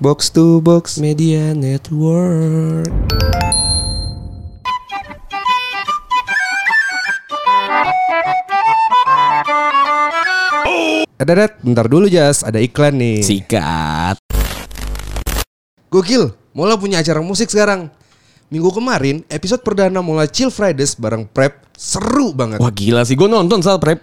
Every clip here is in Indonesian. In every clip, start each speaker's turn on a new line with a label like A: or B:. A: Box to Box Media Network. Ada dat, bentar dulu Jas, ada iklan nih.
B: Sikat.
A: Gokil, Mola punya acara musik sekarang. Minggu kemarin, episode perdana Mola Chill Fridays bareng Prep seru banget.
B: Wah gila sih, gue nonton saat prep.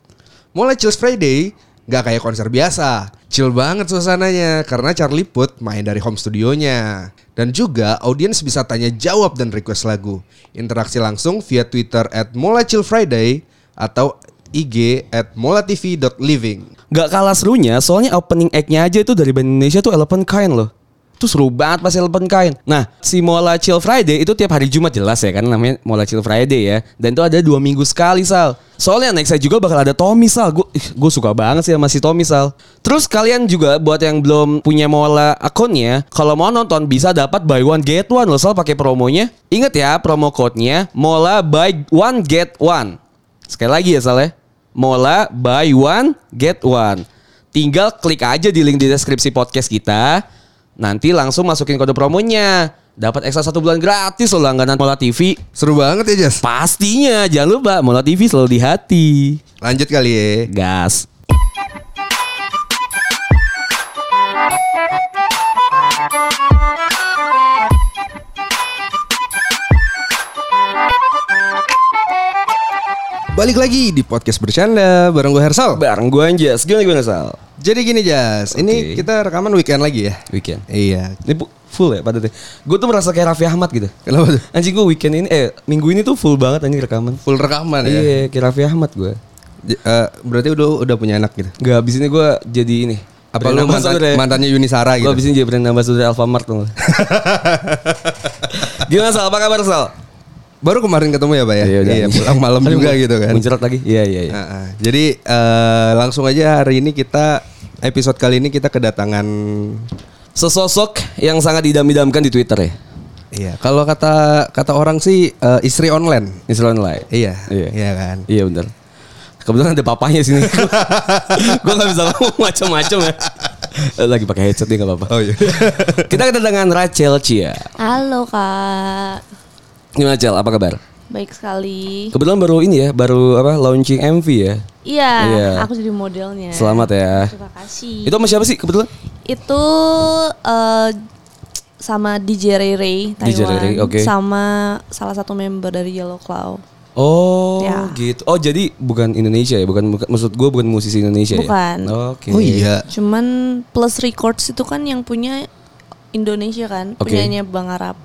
A: Mola Chill Friday nggak kayak konser biasa. Chill banget suasananya karena Charlie Puth main dari home studionya. Dan juga audiens bisa tanya jawab dan request lagu. Interaksi langsung via Twitter at Mola Chill Friday atau IG at molatv.living.
B: Gak kalah serunya, soalnya opening act-nya aja itu dari band Indonesia tuh Elephant Kain loh. Itu seru banget pas Elephant Kain. Nah, si Mola Chill Friday itu tiap hari Jumat jelas ya, karena namanya Mola Chill Friday ya. Dan itu ada dua minggu sekali, Sal. Soalnya next saya juga bakal ada Tommy, Sal. Gue gue suka banget sih sama si Tommy, Sal. Terus kalian juga buat yang belum punya Mola akunnya, kalau mau nonton bisa dapat buy one get one loh, Sal, pakai promonya. Ingat ya, promo code-nya Mola buy one get one. Sekali lagi ya, Sal ya. Mola buy one get one. Tinggal klik aja di link di deskripsi podcast kita. Nanti langsung masukin kode promonya. Dapat ekstra satu bulan gratis loh langganan Mola TV.
A: Seru banget ya Jas.
B: Pastinya jangan lupa Mola TV selalu di hati.
A: Lanjut kali ya.
B: Gas.
A: Balik lagi di podcast bercanda bareng gue Hersal.
B: Bareng gue Anjas. Gimana gimana Sal?
A: Jadi gini Jas, ini
B: Oke.
A: kita rekaman weekend lagi ya.
B: Weekend.
A: Iya.
B: Ini bu- full ya padatnya. Gue tuh merasa kayak Raffi Ahmad gitu.
A: Kenapa tuh?
B: Anjing gue weekend ini eh minggu ini tuh full banget anjing rekaman.
A: Full rekaman ya.
B: Iya, kayak Raffi Ahmad gue.
A: J- eh, berarti udah udah punya anak gitu.
B: Gak habis ini gue jadi ini.
A: Apa lu mantan,
B: brand ambassador ya?
A: mantannya Yuni Sara
B: Gue
A: gitu?
B: abisin jadi brand ambassador Alfamart tuh. Gimana Sal? Apa kabar Sal?
A: Baru kemarin ketemu ya, Pak ya.
B: Iya, udah.
A: pulang malam
B: Aduh,
A: juga
B: mun-
A: gitu kan.
B: Muncrat lagi. Iya, iya, iya.
A: Ah, ah. Jadi eh, langsung aja hari ini kita episode kali ini kita kedatangan
B: Sesosok yang sangat didam-idamkan di Twitter ya.
A: iya, kalau kata kata orang sih eh, istri online.
B: Instagram Online.
A: Iya,
B: Iya.
A: iya kan.
B: Iya bener. Kebetulan ada papanya sini. gue gak bisa ngomong macam-macam ya. Lagi pakai headset nih gak apa-apa.
A: Oh iya.
B: Kita kedatangan Rachel Cia.
C: Halo kak,
B: Gimana Rachel? Apa kabar?
C: baik sekali.
B: Kebetulan baru ini ya, baru apa launching MV ya.
C: Iya,
B: Iya.
C: aku jadi modelnya.
B: Selamat ya.
C: Terima
B: Itu
C: kasih.
B: sama siapa sih kebetulan?
C: Itu eh, sama DJ Ray Ray Taiwan,
B: DJ Ray Ray, oke.
C: sama salah satu member dari Yellow Claw.
B: Oh
C: Ya.
B: gitu. Oh jadi bukan Indonesia ya, bukan, bukan- maksud gue bukan musisi Indonesia
C: Bukan.
B: ya. Oke.
A: Oh iya.
C: Cuman Plus Records itu kan yang punya Indonesia kan,
B: Oke.
C: punyanya Bang Arab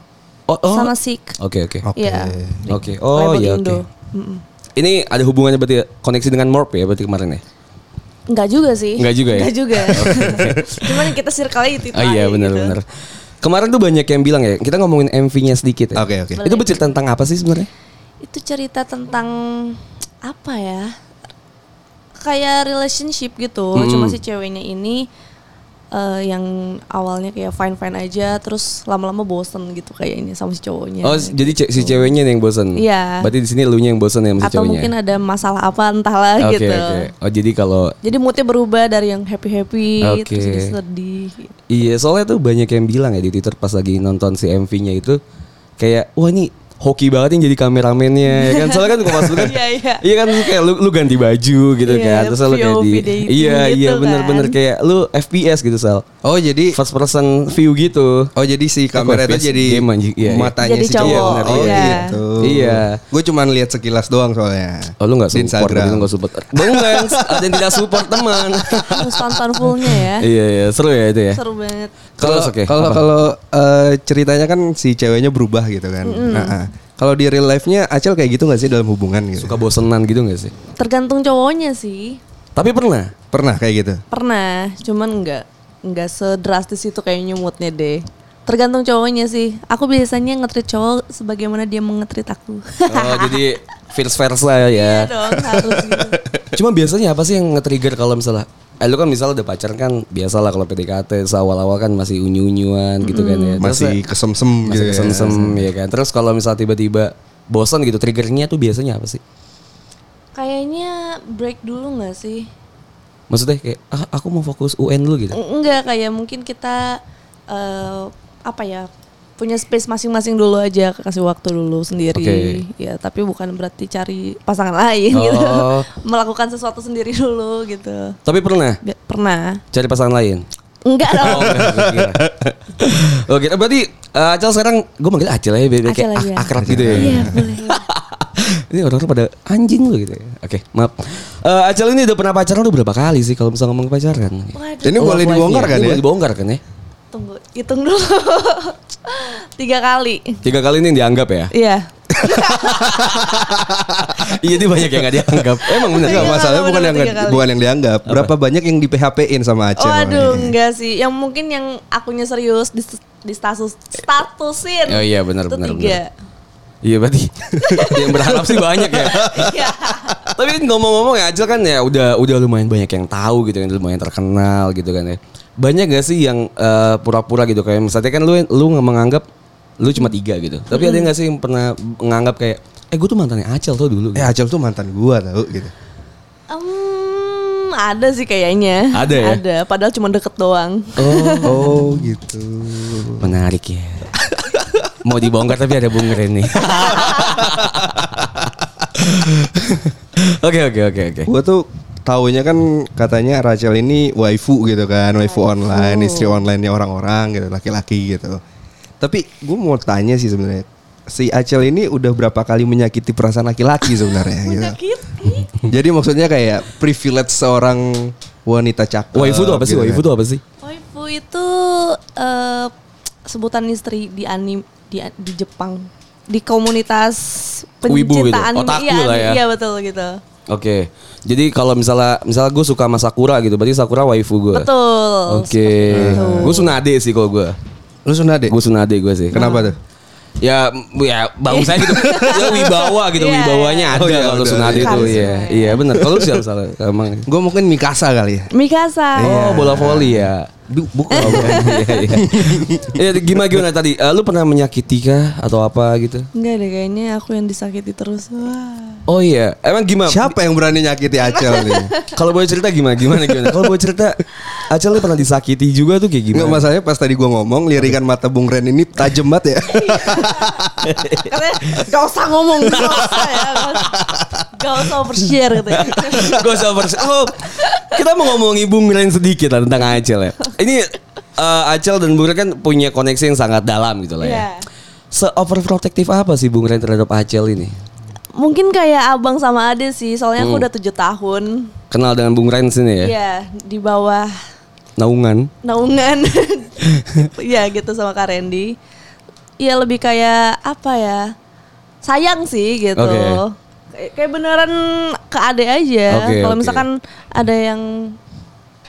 B: Oh, oh.
C: sama Sik.
B: Oke oke.
A: Oke.
C: Iya.
B: Oke. Oh
C: Label
B: iya oke.
C: Indo. Mm-mm.
B: Ini ada hubungannya berarti ya, koneksi dengan Morp ya berarti kemarin ya.
C: Enggak juga sih.
B: Enggak juga ya?
C: Enggak juga. Cuman kita circle itu.
B: Oh iya benar
C: gitu.
B: benar. Kemarin tuh banyak yang bilang ya, kita ngomongin MV-nya sedikit ya.
A: Oke, oke.
B: Itu bercerita tentang apa sih sebenarnya?
C: itu cerita tentang apa ya kayak relationship gitu cuma si ceweknya ini eh, yang awalnya kayak fine fine aja terus lama-lama bosen gitu kayaknya sama si cowoknya
B: Oh, jadi ce- si ceweknya yang bosan.
C: Ya. Iya.
B: Berarti di sini elunya yang bosan ya sama si
C: atau
B: cowoknya.
C: mungkin ada masalah apa entahlah
B: Oke
C: gitu
B: oke. Oh jadi kalau
C: jadi moodnya berubah dari yang happy happy
B: Oke.
C: terus jadi sedih gitu.
B: Iya, soalnya tuh banyak yang bilang ya di Twitter pas lagi nonton si MV-nya itu kayak wah ini hoki banget yang jadi kameramennya ya kan. Soalnya kan kalau pas lu kan
C: Iya, iya.
B: Iya kan terus kayak lu, lu ganti baju gitu
C: Iya,
B: kan. Terus lu kayak di
C: POV dating
B: Iya,
C: gitu
B: iya
C: kan.
B: bener-bener kayak lu FPS gitu Sal.
A: Oh, jadi
B: First person view gitu.
A: Oh, jadi si kamera itu
B: FPS
A: jadi
B: game anjing. Iya, iya.
A: matanya
C: Jadi
A: si cowok.
C: cowok,
A: Oh,
C: iya.
A: gitu.
B: Iya.
A: Gue cuman lihat sekilas doang soalnya.
B: Oh lu gak
A: Di
B: support,
A: Instagram.
B: berarti lu gak support. Bukan, ada yang tidak support teman.
C: harus tonton fullnya ya
B: iya, iya, seru ya itu ya.
C: seru banget
A: Kalau
B: Terus, oke,
A: kalau
B: apa?
A: kalau eh, ceritanya kan si ceweknya berubah gitu kan. Nah, ah. kalau di real life-nya Acel kayak gitu nggak sih dalam hubungan gitu?
B: Suka bosenan gitu gak sih?
C: tergantung cowoknya sih
B: Tapi pernah?
A: Pernah kayak gitu?
C: Pernah, cuman nggak nggak sedrastis itu kayaknya moodnya deh. Tergantung cowoknya sih. Aku biasanya ngetrit cowok sebagaimana dia mengetrit aku.
B: Oh, jadi fierce versa ya.
C: Iya dong, harus gitu.
B: Cuma biasanya apa sih yang nge-trigger kalau misalnya Eh lu kan misalnya udah pacaran kan biasalah kalau PDKT awal-awal kan masih unyu-unyuan gitu kan ya. Terus
A: Masih
B: ya,
A: kesemsem
B: masih
A: gitu. ya.
B: kesem-sem ya kan. Terus kalau misalnya tiba-tiba bosan gitu triggernya tuh biasanya apa sih?
C: Kayaknya break dulu nggak sih?
B: Maksudnya kayak ah, aku mau fokus UN dulu gitu.
C: Enggak, kayak mungkin kita eh, apa ya punya space masing-masing dulu aja kasih waktu dulu
B: Oke.
C: sendiri ya tapi bukan berarti cari pasangan lain gitu
B: Oh.
C: melakukan sesuatu sendiri dulu gitu
B: Tapi pernah
C: Bi- pernah
B: cari pasangan lain? Oh, gitu,
C: enggak dong
B: Oke, ya. Oh, berarti eh, Acel sekarang gue manggil Acel aja biar biar
C: Acel
B: kayak
C: aja.
B: ak- akrab gitu ya.
C: iya boleh
B: ini orang-orang pada anjing lu gitu ya. Oke, maaf. Eh, Acel ini udah pernah pacaran udah berapa kali sih kalau misalnya ngomong pacaran?
C: Waduh.
A: Ini boleh
B: Love
A: dibongkar kan
B: life-nya. Ini
A: ya?
B: Boleh dibongkar kan ya?
C: Tunggu, hitung dulu. Tiga kali.
B: Tiga kali ini yang dianggap ya?
C: Iya.
B: iya, ini banyak yang gak dianggap. Emang bener.
A: Enggak
C: Iya,
A: masalahnya
C: bener-bener
A: bukan yang
C: tiga kali.
A: bukan yang dianggap. Berapa banyak yang di PHP-in sama Acel?
C: Waduh, enggak sih. Yang mungkin yang akunya serius di, di status statusin.
B: Oh iya, benar,
C: Itu
B: benar,
C: Tiga.
B: Iya berarti yang berharap sih banyak ya.
C: Iya.
B: Tapi ngomong-ngomong ya Acil kan ya udah udah lumayan banyak yang tahu gitu kan lumayan terkenal gitu kan ya. Banyak gak sih yang eh, pura-pura gitu kayak misalnya kan lu lu nggak menganggap lu cuma tiga gitu. Tapi ada gak sih yang pernah menganggap kayak eh gue tuh mantannya Acil tuh dulu.
A: Eh Acel tuh mantan gua tau gitu.
C: Em, ada sih kayaknya.
B: Ada ya?
C: Ada. Padahal cuma deket doang.
A: Oh, oh gitu.
B: Menarik ya. Mau dibongkar tapi ada bunger ini. Oke oke oke oke.
A: Gua tuh taunya kan katanya Rachel ini waifu gitu kan, waifu online, istri online-nya orang-orang gitu, laki-laki gitu. Tapi gua mau tanya sih sebenarnya, si Acel ini udah berapa kali menyakiti perasaan laki-laki sebenarnya gitu.
C: Menyakiti.
A: Jadi maksudnya kayak privilege seorang wanita cakep.
B: Waifu tuh apa sih?
A: gitu
B: Waifu
A: kan.
B: tuh apa sih?
C: Waifu itu eh, sebutan istri di anim di, di Jepang di komunitas
B: Wibu gitu,
C: pencinta anime
B: otaku
C: iya,
B: lah ya.
C: iya betul gitu
B: Oke, jadi kalau misalnya misalnya gue suka sama Sakura gitu, berarti Sakura waifu gue.
C: betul
B: Oke, gue sunade sih kalau gue.
A: kan. Lu sunade?
B: Gue sunade gue sih.
A: Kenapa tuh?
B: Ya, m- ya bangsanya gitu. ya wibawa gitu,
C: Iya,
B: wibawanya
A: iya.
B: ada
A: Oh, iya,
B: kalau
A: udah,
B: sunade
C: iya.
B: tuh ya. Iya benar. Kalau lu siapa salah? Emang.
A: Gue mungkin Mikasa kali ya.
C: Mikasa
B: Oh, bola voli ya.
A: Bu- Bukan.
B: Iya, iya. Ya, gimana gimana tadi? Eh, lu pernah menyakiti kah atau apa gitu?
C: Enggak deh kayaknya aku yang disakiti terus. Wah.
B: Oh iya, emang gimana?
A: Siapa yang berani nyakiti Acel nih?
B: Kalau boleh cerita gimana? Gimana gimana? Kalau boleh cerita, Acel lu pernah disakiti juga tuh kayak
A: Enggak
B: gimana?
A: masalahnya pas tadi gua ngomong lirikan mata Bung Ren ini tajam banget ya.
C: Katanya gak usah ngomong, gak usah ya. Gak usah, gak usah overshare katanya.
B: Gak usah over- Oh, kita mau ngomongin Bung Ren sedikit lah tentang Acel ya. Ini eh, Acel dan Bung Ren kan punya koneksi yang sangat dalam gitu lah
C: Iya.
B: ya. Se overprotective apa sih Bung Ren terhadap Acel ini?
C: Mungkin kayak abang sama ade sih, soalnya
B: Hmm.
C: aku udah tujuh tahun.
B: Kenal dengan Bung Ren sini ya.
C: Iya, di bawah
B: Naungan.
C: naungan. Iya gitu sama Kak Randy. Iya lebih kayak apa ya? Sayang sih gitu.
B: Oke.
C: Kayak- Kayak beneran ke ade aja.
B: Oke,
C: Kalau
B: oke.
C: misalkan ada yang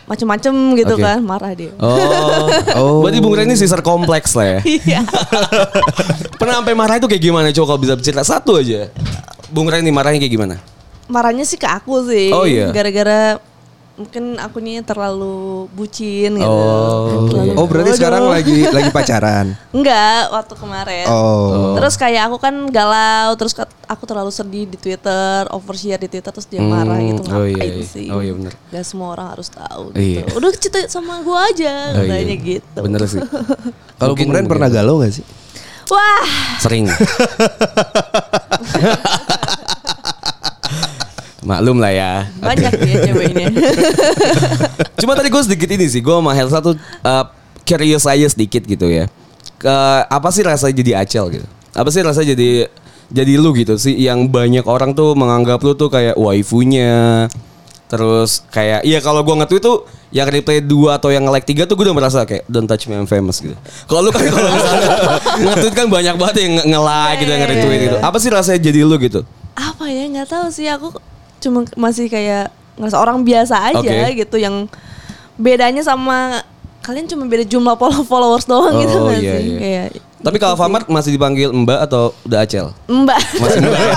C: macem-macem gitu
B: Oke.
C: kan, marah dia.
B: Oh.
A: Oh.
B: Berarti Bung Ren ini sister kompleks lah ya.
C: Iya.
B: Pernah sampai marah itu kayak gimana coba kalau bisa cerita satu aja. Bung Ren ini marahnya kayak gimana?
C: Marahnya sih ke aku sih.
B: Oh, iya.
C: Gara-gara mungkin akunya terlalu bucin gitu.
B: Oh,
C: Terlalu
A: Oh berarti
C: bodoh.
A: sekarang lagi lagi pacaran.
C: Enggak, waktu kemarin.
A: Oh.
C: Terus kayak aku kan galau, terus kat- aku terlalu sedih di Twitter, overshare di Twitter terus dia marah gitu
B: Hmm, oh iya, iya.
C: ngapain sih?
B: Oh iya, bener.
C: Gak semua orang harus tahu gitu.
B: Iya.
C: Udah cerita sama gua aja,
B: Oh, iya.
C: katanya gitu.
B: Bener sih.
A: Kalau
B: Mungkin
A: Bung Ren
B: begitu.
A: pernah galau gak sih?
C: Wah,
B: Sering. Maklum lah ya.
C: banyak dia ceweknya.
B: Cuma tadi gue sedikit ini sih, gue sama Helsa tuh uh, curious aja sedikit gitu ya. Ke- apa sih rasanya jadi acel gitu? Apa sih rasanya jadi jadi lu gitu sih yang banyak orang tuh menganggap lu tuh kayak waifunya. Terus kayak iya kalau gua nge-tweet tuh yang replay 2 atau yang like 3 tuh gue udah merasa kayak don't touch me I'm famous gitu. Kalau lu kan kalau misalnya nge-tweet kan banyak banget yang nge- nge-like
C: Iya,
B: gitu, yang nge-retweet gitu. Apa sih rasanya jadi lu gitu?
C: apa ya nggak tahu sih aku cuma masih kayak ngerasa orang biasa aja
B: Oke.
C: gitu yang bedanya sama kalian cuma beda jumlah follow- followers doang gitu
B: Oh,
C: nggak sih kayak
B: iya,
C: gitu
B: Tapi kalau Alfamart masih dipanggil Mbak atau udah acel?
C: mbak
B: Masih mbak ya?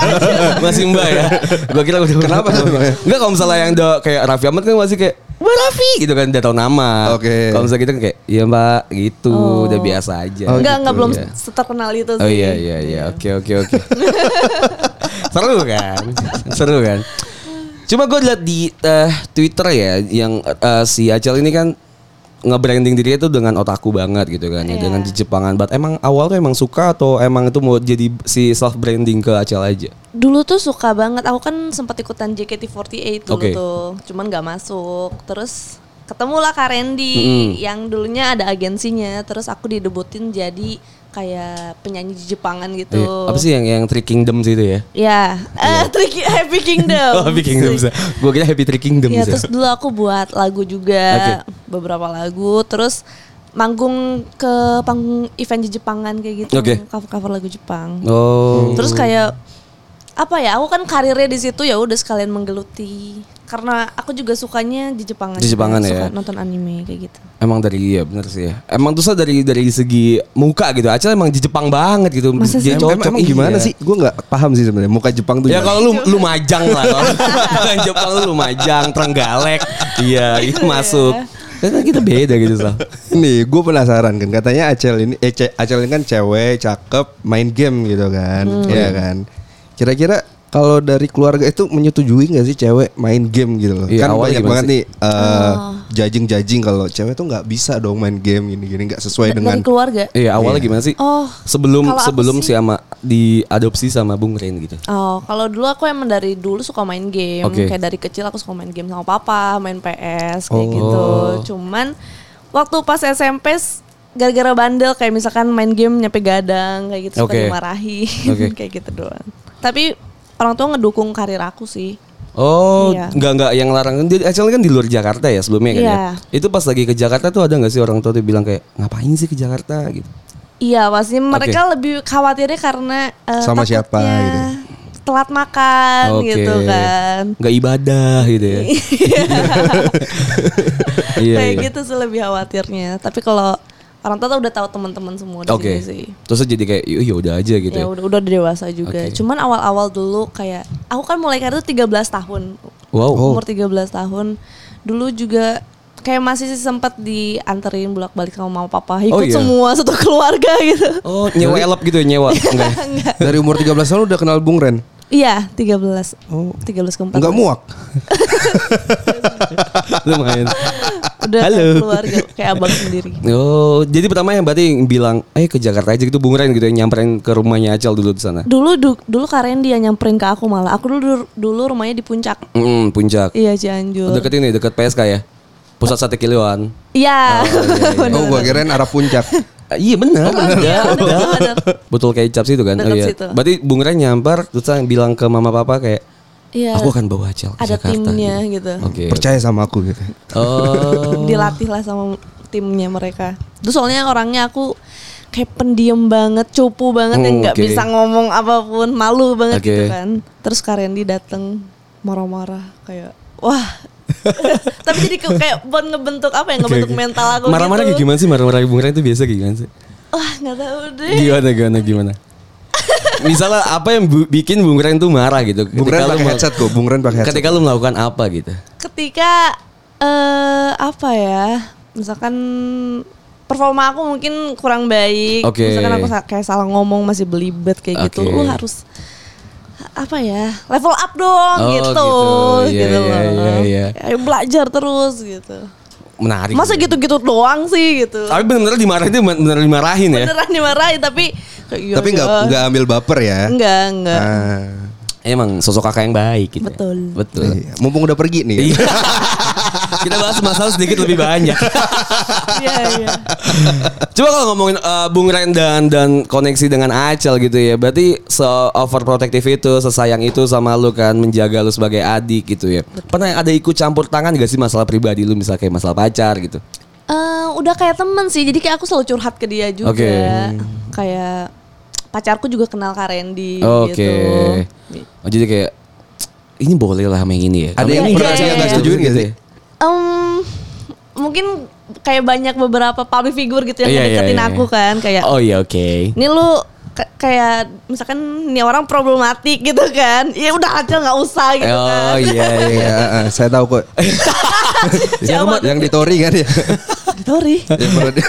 B: Masih mbak ya Gua kira udah
A: Kenapa tuh, Bang?
B: Enggak kalau misalnya yang udah kayak Raffi Ahmad kan masih kayak Mbak Raffi gitu kan udah tau nama
A: Oke.
B: Kalau misalnya kita kan kayak Iya mbak gitu Udah biasa aja
C: Oh. nggak
B: gitu,
C: nggak belum
B: ya.
C: seterkenal itu sih
B: Oh iya iya iya oke oke oke Seru kan Seru kan Cuma gue liat di eh, Twitter ya Yang eh, si Acel ini kan nge-branding dirinya tuh dengan otaku banget gitu kan ya, dengan di Jepangan. But emang awal tuh emang suka atau emang itu mau jadi si self branding ke Acel aja?
C: Dulu tuh suka banget. Aku kan sempat ikutan JKT48 dulu
B: Oke.
C: tuh. Cuman gak masuk. Terus ketemulah Kak Randy yang dulunya ada agensinya. Terus aku didebutin jadi kayak penyanyi di Jepangan gitu.
B: Iya. Apa sih yang yang Three Kingdoms itu ya?
C: Ya, eh Tricky- Happy Kingdom.
B: Oh, Happy Kingdoms. Gue kira Happy Three Kingdoms. ya.
C: Ya terus dulu aku buat lagu juga beberapa lagu terus manggung ke panggung event di Jepangan kayak gitu
B: Oke.
C: cover cover lagu Jepang
B: Oh.
C: terus kayak apa ya aku kan karirnya di situ ya udah sekalian menggeluti karena aku juga sukanya di Jepangan
B: Di Jepangan
C: Suka
B: ya.
C: nonton anime kayak gitu
B: Emang dari iya bener sih ya. Emang tuh dari dari segi muka gitu. Acel emang di Jepang banget gitu.
C: Masa sih?
B: Dia
A: Emang,
B: cocok,
A: emang gimana
B: iya.
A: sih? Gue nggak paham sih sebenarnya. Muka Jepang tuh.
B: Ya
A: gimana?
B: kalau lu lu majang lah. Kalau bukan Jepang lu majang, Trenggalek. Iya, itu masuk. Kan kita beda gitu Sal.
A: Nih, gue penasaran kan. Katanya Acel ini, eh, Ce- Acel ini kan cewek, cakep, main game gitu kan,
C: Hmm.
A: Iya
B: Hmm.
A: kan. Kira-kira kalau dari keluarga itu menyetujui nggak sih cewek main game gitu loh?
B: Iya,
A: kan banyak
B: awalnya
A: banget
B: pasti.
A: nih
C: Oh.
A: eh, judging-judging kalau cewek tuh nggak bisa dong main game gini-gini nggak sesuai dengan
C: dari keluarga
B: Iya, awalnya gimana sih?
C: oh
B: Sebelum
C: kalau aku
B: sebelum sih
C: sih-
B: sama diadopsi sama Bung Ren gitu.
C: Oh, kalau dulu aku emang dari dulu suka main game.
B: Oke.
C: Kayak dari kecil aku suka main game sama papa, main PS kayak gitu. Cuman waktu pas SMP s- gara-gara bandel kayak misalkan main game nyampe gadang kayak gitu
B: Oke.
C: suka dimarahin
B: Oke.
C: kayak gitu doang. Tapi orang tua ngedukung karir aku sih.
B: Oh,
C: Iya.
B: enggak enggak yang larang. Dia Acel kan di luar Jakarta ya sebelumnya kan
C: Iya.
B: ya. Itu pas lagi ke Jakarta tuh ada nggak sih orang tua tuh bilang kayak ngapain sih ke Jakarta gitu.
C: Iya, pasti mereka lebih khawatirnya karena eh,
A: Sama siapa
C: takutnya
A: gitu.
C: Telat makan gitu kan.
B: Nggak ibadah gitu ya. Iya.
C: kayak
B: iya.
C: gitu sih lebih khawatirnya. Tapi kalau orang tua tuh udah tahu teman-teman semua di
B: Oke.
C: sini sih.
B: Terus jadi kayak "Yuh, ya udah aja gitu.
C: ya
B: Ya.
C: udah udah dewasa juga.
B: Oke.
C: Cuman awal-awal dulu kayak aku kan mulai karir tuh 13 tahun.
B: Wow. Oh.
C: Umur 13 tahun. Dulu juga kayak masih sempat dianterin bolak-balik sama mama papa. Ikut
B: Oh, iya.
C: semua satu keluarga gitu.
B: Oh, nyewa elop gitu ya, nyewa. Enggak.
A: dari umur 13 tahun udah kenal Bung Ren.
C: Iya, 13.
B: Oh.
C: 13 ke 14.
A: Nggak muak.
B: Lumayan.
C: Udah
B: Halo.
C: kayak keluarga kayak abang sendiri.
B: Oh, jadi pertama yang berarti yang bilang, "Eh ke Jakarta aja gitu, Bung Ren gitu yang nyamperin ke rumahnya Acel dulu di sana."
C: Dulu du- dulu Karen dia nyamperin ke aku malah. Aku dulu dulu rumahnya di puncak.
B: Mm, puncak.
C: Iya, Cianjur.
B: Deket ini, deket PSK ya. Pusat Sate Kiloan.
C: Iya.
A: Oh, gue kirain arah puncak.
B: Eh, iya
C: Oh,
B: benar. ada, ada.
C: benar.
B: Betul kecap sih itu kan.
C: Deket
B: iya.
C: situ.
B: Berarti Bung Ren nyamper terus yang bilang ke mama papa kayak,
C: Iya.
B: "Aku akan bawa Acel ke
C: Ada
B: Jakarta."
C: timnya gitu.
B: Oke.
A: Percaya sama aku gitu.
B: Oh.
C: dilatih lah sama timnya mereka. Terus soalnya orangnya aku kayak pendiam banget, cupu banget yang
B: Hmm,
C: nggak
B: oke.
C: bisa ngomong apapun, malu banget
B: Oke.
C: gitu kan. Terus Kak Randy dateng marah-marah kayak wah. Tapi jadi ke- kayak buat ngebentuk apa ya ngebentuk mental aku
B: Marah-marah kayak
C: gitu. Eh.
B: gimana sih? Marah-marah Bung Ren itu biasa kayak gimana sih?
C: Wah nggak tahu deh.
B: Gimana gimana gimana? Misalnya apa yang bu- bikin Bung Ren tuh marah gitu?
A: Bung Ren
B: Ketika lu
A: pakai
B: mel-
A: headset kok. Bung Ren pakai headset.
B: Ketika lu melakukan apa gitu?
C: Ketika eh apa ya, misalkan performa aku mungkin kurang baik,
B: Oke.
C: misalkan aku sa- kayak salah ngomong masih belibet kayak gitu,
B: Oke.
C: lu harus apa ya level up dong
B: Oh,
C: gitu
B: gitu. Iya,
C: gitu
B: iya,
C: loh
B: iya, iya.
C: Kayak belajar terus gitu
B: Menarik.
C: masa
B: gitu?
C: gitu gitu doang sih gitu
B: Tapi bener-bener dimarahin itu bener-bener dimarahin ya.
C: beneran dimarahin tapi kayak, iya
A: Tapi nggak
C: aja.
A: nggak ambil baper ya.
C: enggak enggak
A: Ah.
B: Emang sosok kakak yang baik gitu. ya.
C: Betul.
B: Betul.
A: Iya, Mumpung udah pergi nih.
B: Iya. Kita bahas masalah sedikit lebih banyak.
C: iya iya
B: Coba kalau ngomongin eh, Bung Ren dan dan koneksi dengan Acel gitu ya. Berarti se overprotective itu, sesayang itu sama lu kan menjaga lu sebagai adik gitu ya. Pernah ada ikut campur tangan gak sih masalah pribadi lu misalnya kayak masalah pacar gitu?
C: Eh, udah kayak temen sih, jadi kayak aku selalu curhat ke dia juga.
B: Oke.
C: Kayak pacarku juga kenal Kak Randy
B: Oke.
C: gitu.
B: Oh, jadi kayak ini boleh lah sama yang ini ya.
A: Ada
B: Sama
A: yang
B: ini
A: pernah
C: iya,
A: dia
C: iya,
A: nggak
C: iya.
A: setujuin gitu ya?
C: Em, mungkin kayak banyak beberapa public figure gitu yang
B: Iya, iya,
C: ngedeketin
B: iya.
C: aku kan, kayak
B: Oh iya oke.
C: ini lu ke- kayak misalkan ini orang problematik gitu kan. Ya udah aja nggak usah gitu
B: Oh
C: kan.
B: iya iya. Eh,
A: Iya, ah, ah, saya tahu kok. yang,
C: Siapa?
A: yang di Tori kan ya.
C: Sorry.
A: Yang perlu di-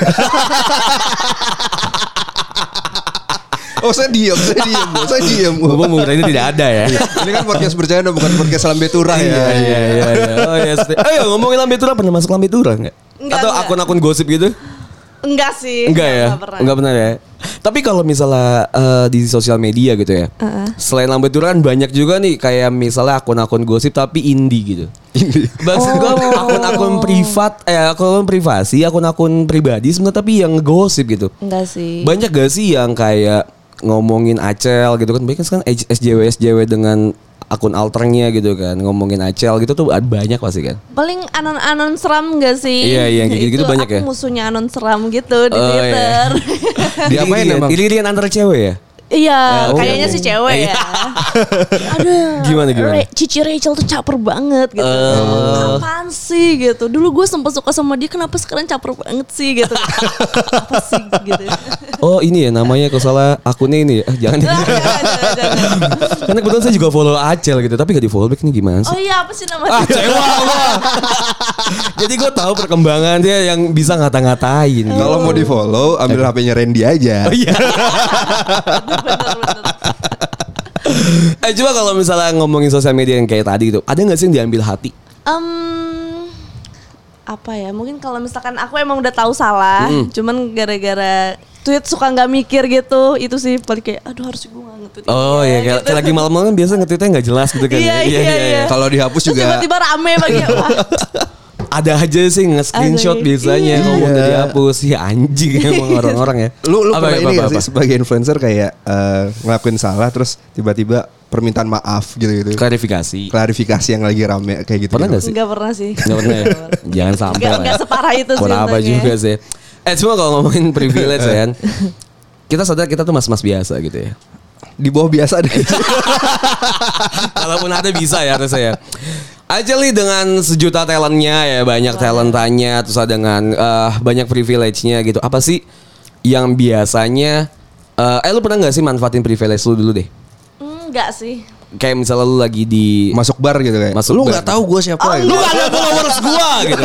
A: oh saya diam, saya diam, oh, saya diam. Oh.
B: Mumpung Bung Ren ini tidak ada ya.
A: Ini kan podcast bercanda bukan podcast lambe turah ya.
B: iya iya. Oh iya. Oh iya ngomongin lambe turah pernah masuk lambe turah nggak?
C: Enggak,
B: Atau
C: enggak.
B: akun-akun gosip gitu?
C: Enggak sih.
B: Enggak ya?
C: Enggak pernah.
B: Enggak pernah ya? Tapi kalau misalnya eh, di sosial media gitu ya. Selain lambe Tura kan banyak juga nih kayak misalnya akun-akun gosip tapi indie gitu. Maksud gua akun-akun privat, eh akun privasi, akun-akun pribadi sebenarnya tapi yang gosip gitu.
C: Enggak sih.
B: Banyak gak sih yang kayak ngomongin Acel gitu kan? Banyak kan sekarang SJW SJW dengan akun alternya gitu kan ngomongin Acel gitu tuh banyak pasti kan.
C: Paling anon-anon seram gak sih?
B: Iya, iya, yang kayak gitu
C: Itu
B: banyak ya?
C: aku musuhnya anon seram gitu di
B: Oh, iya.
C: Twitter.
A: Diapain
B: Iri-irian-
A: emang?
B: Iri-irian antara cewek ya? Oh,
C: Iya,
B: oke,
C: kayaknya
B: oke.
C: sih cewek
B: Iya.
C: ya. Aduh.
B: Gimana, gimana? Oh.
C: Re- Cici Rachel tuh caper banget gitu. Apaan sih gitu. Dulu gue sempat suka sama dia, kenapa sekarang caper banget sih gitu. Apa sih gitu.
B: Oh ini ya namanya kalau salah akunnya ini ya. Ah, Jangan.
C: Jangan, jangan, jangan.
B: Karena kebetulan saya juga follow Acel gitu, tapi gak di follow back ini gimana sih?
C: Oh iya, apa sih
B: Ah,
C: namanya?
B: cewa gua. Jadi gue tahu perkembangan dia yang bisa ngata-ngatain. gitu.
A: Kalau mau di follow, ambil HP-nya Randy aja.
B: Oh, iya.
C: Bener, bener.
B: eh coba kalau misalnya ngomongin sosial media yang kayak tadi gitu, ada nggak sih yang diambil hati?
C: Em, apa ya? Mungkin kalau misalkan aku emang udah tahu salah, cuman gara-gara tweet suka nggak mikir gitu, itu sih paling kayak aduh harus gue nggak nge-tweet.
B: Oh
C: ini
B: iya,
C: ya,
B: kayak,
C: gitu.
B: kayak lagi malam-malam kan biasa ngetweetnya nggak jelas gitu kan.
C: Iya,
B: ya.
C: iya, iya.
A: Kalau dihapus
C: Terus
A: juga
C: tiba-tiba rame bagi wah,
B: Ada aja sih nge-screenshot
C: Ada.
B: biasanya
C: Iya.
B: kalau udah dihapus ya anjing emang orang-orang ya.
A: Lu lu
B: Apa,
A: pernah
B: apa,
A: ini nggak
B: apa,
A: sih
B: apa?
A: sebagai influencer kayak eh, ngelakuin salah terus tiba-tiba permintaan maaf gitu-gitu.
B: Klarifikasi.
A: Klarifikasi yang lagi rame kayak gitu.
B: Pernah nggak sih?
C: nggak pernah sih.
B: Gak pernah ya? Jangan sampai
C: Nggak-
B: lah
C: nggak
B: ya.
C: separah itu sih
B: Kurang apa
C: untungnya.
B: juga sih Eh cuma kalau ngomongin privilege ya kan Kita sadar kita tuh mas-mas biasa gitu ya
A: Di bawah biasa deh.
B: Kalaupun ada bisa ya harusnya ya Ajel nih dengan sejuta talentnya ya Banyak talentanya Terus ada dengan eh, banyak privilege-nya gitu Apa sih yang biasanya eh, Eh lu pernah gak sih manfaatin privilege lu dulu deh?
C: Enggak sih.
B: Kayak misalnya lu lagi di
A: Masuk bar gitu kayak.
B: Masuk
A: lu
B: bar.
A: nggak tahu gue siapa.
C: Oh,
A: gitu.
B: Lu gak ada followers gua gitu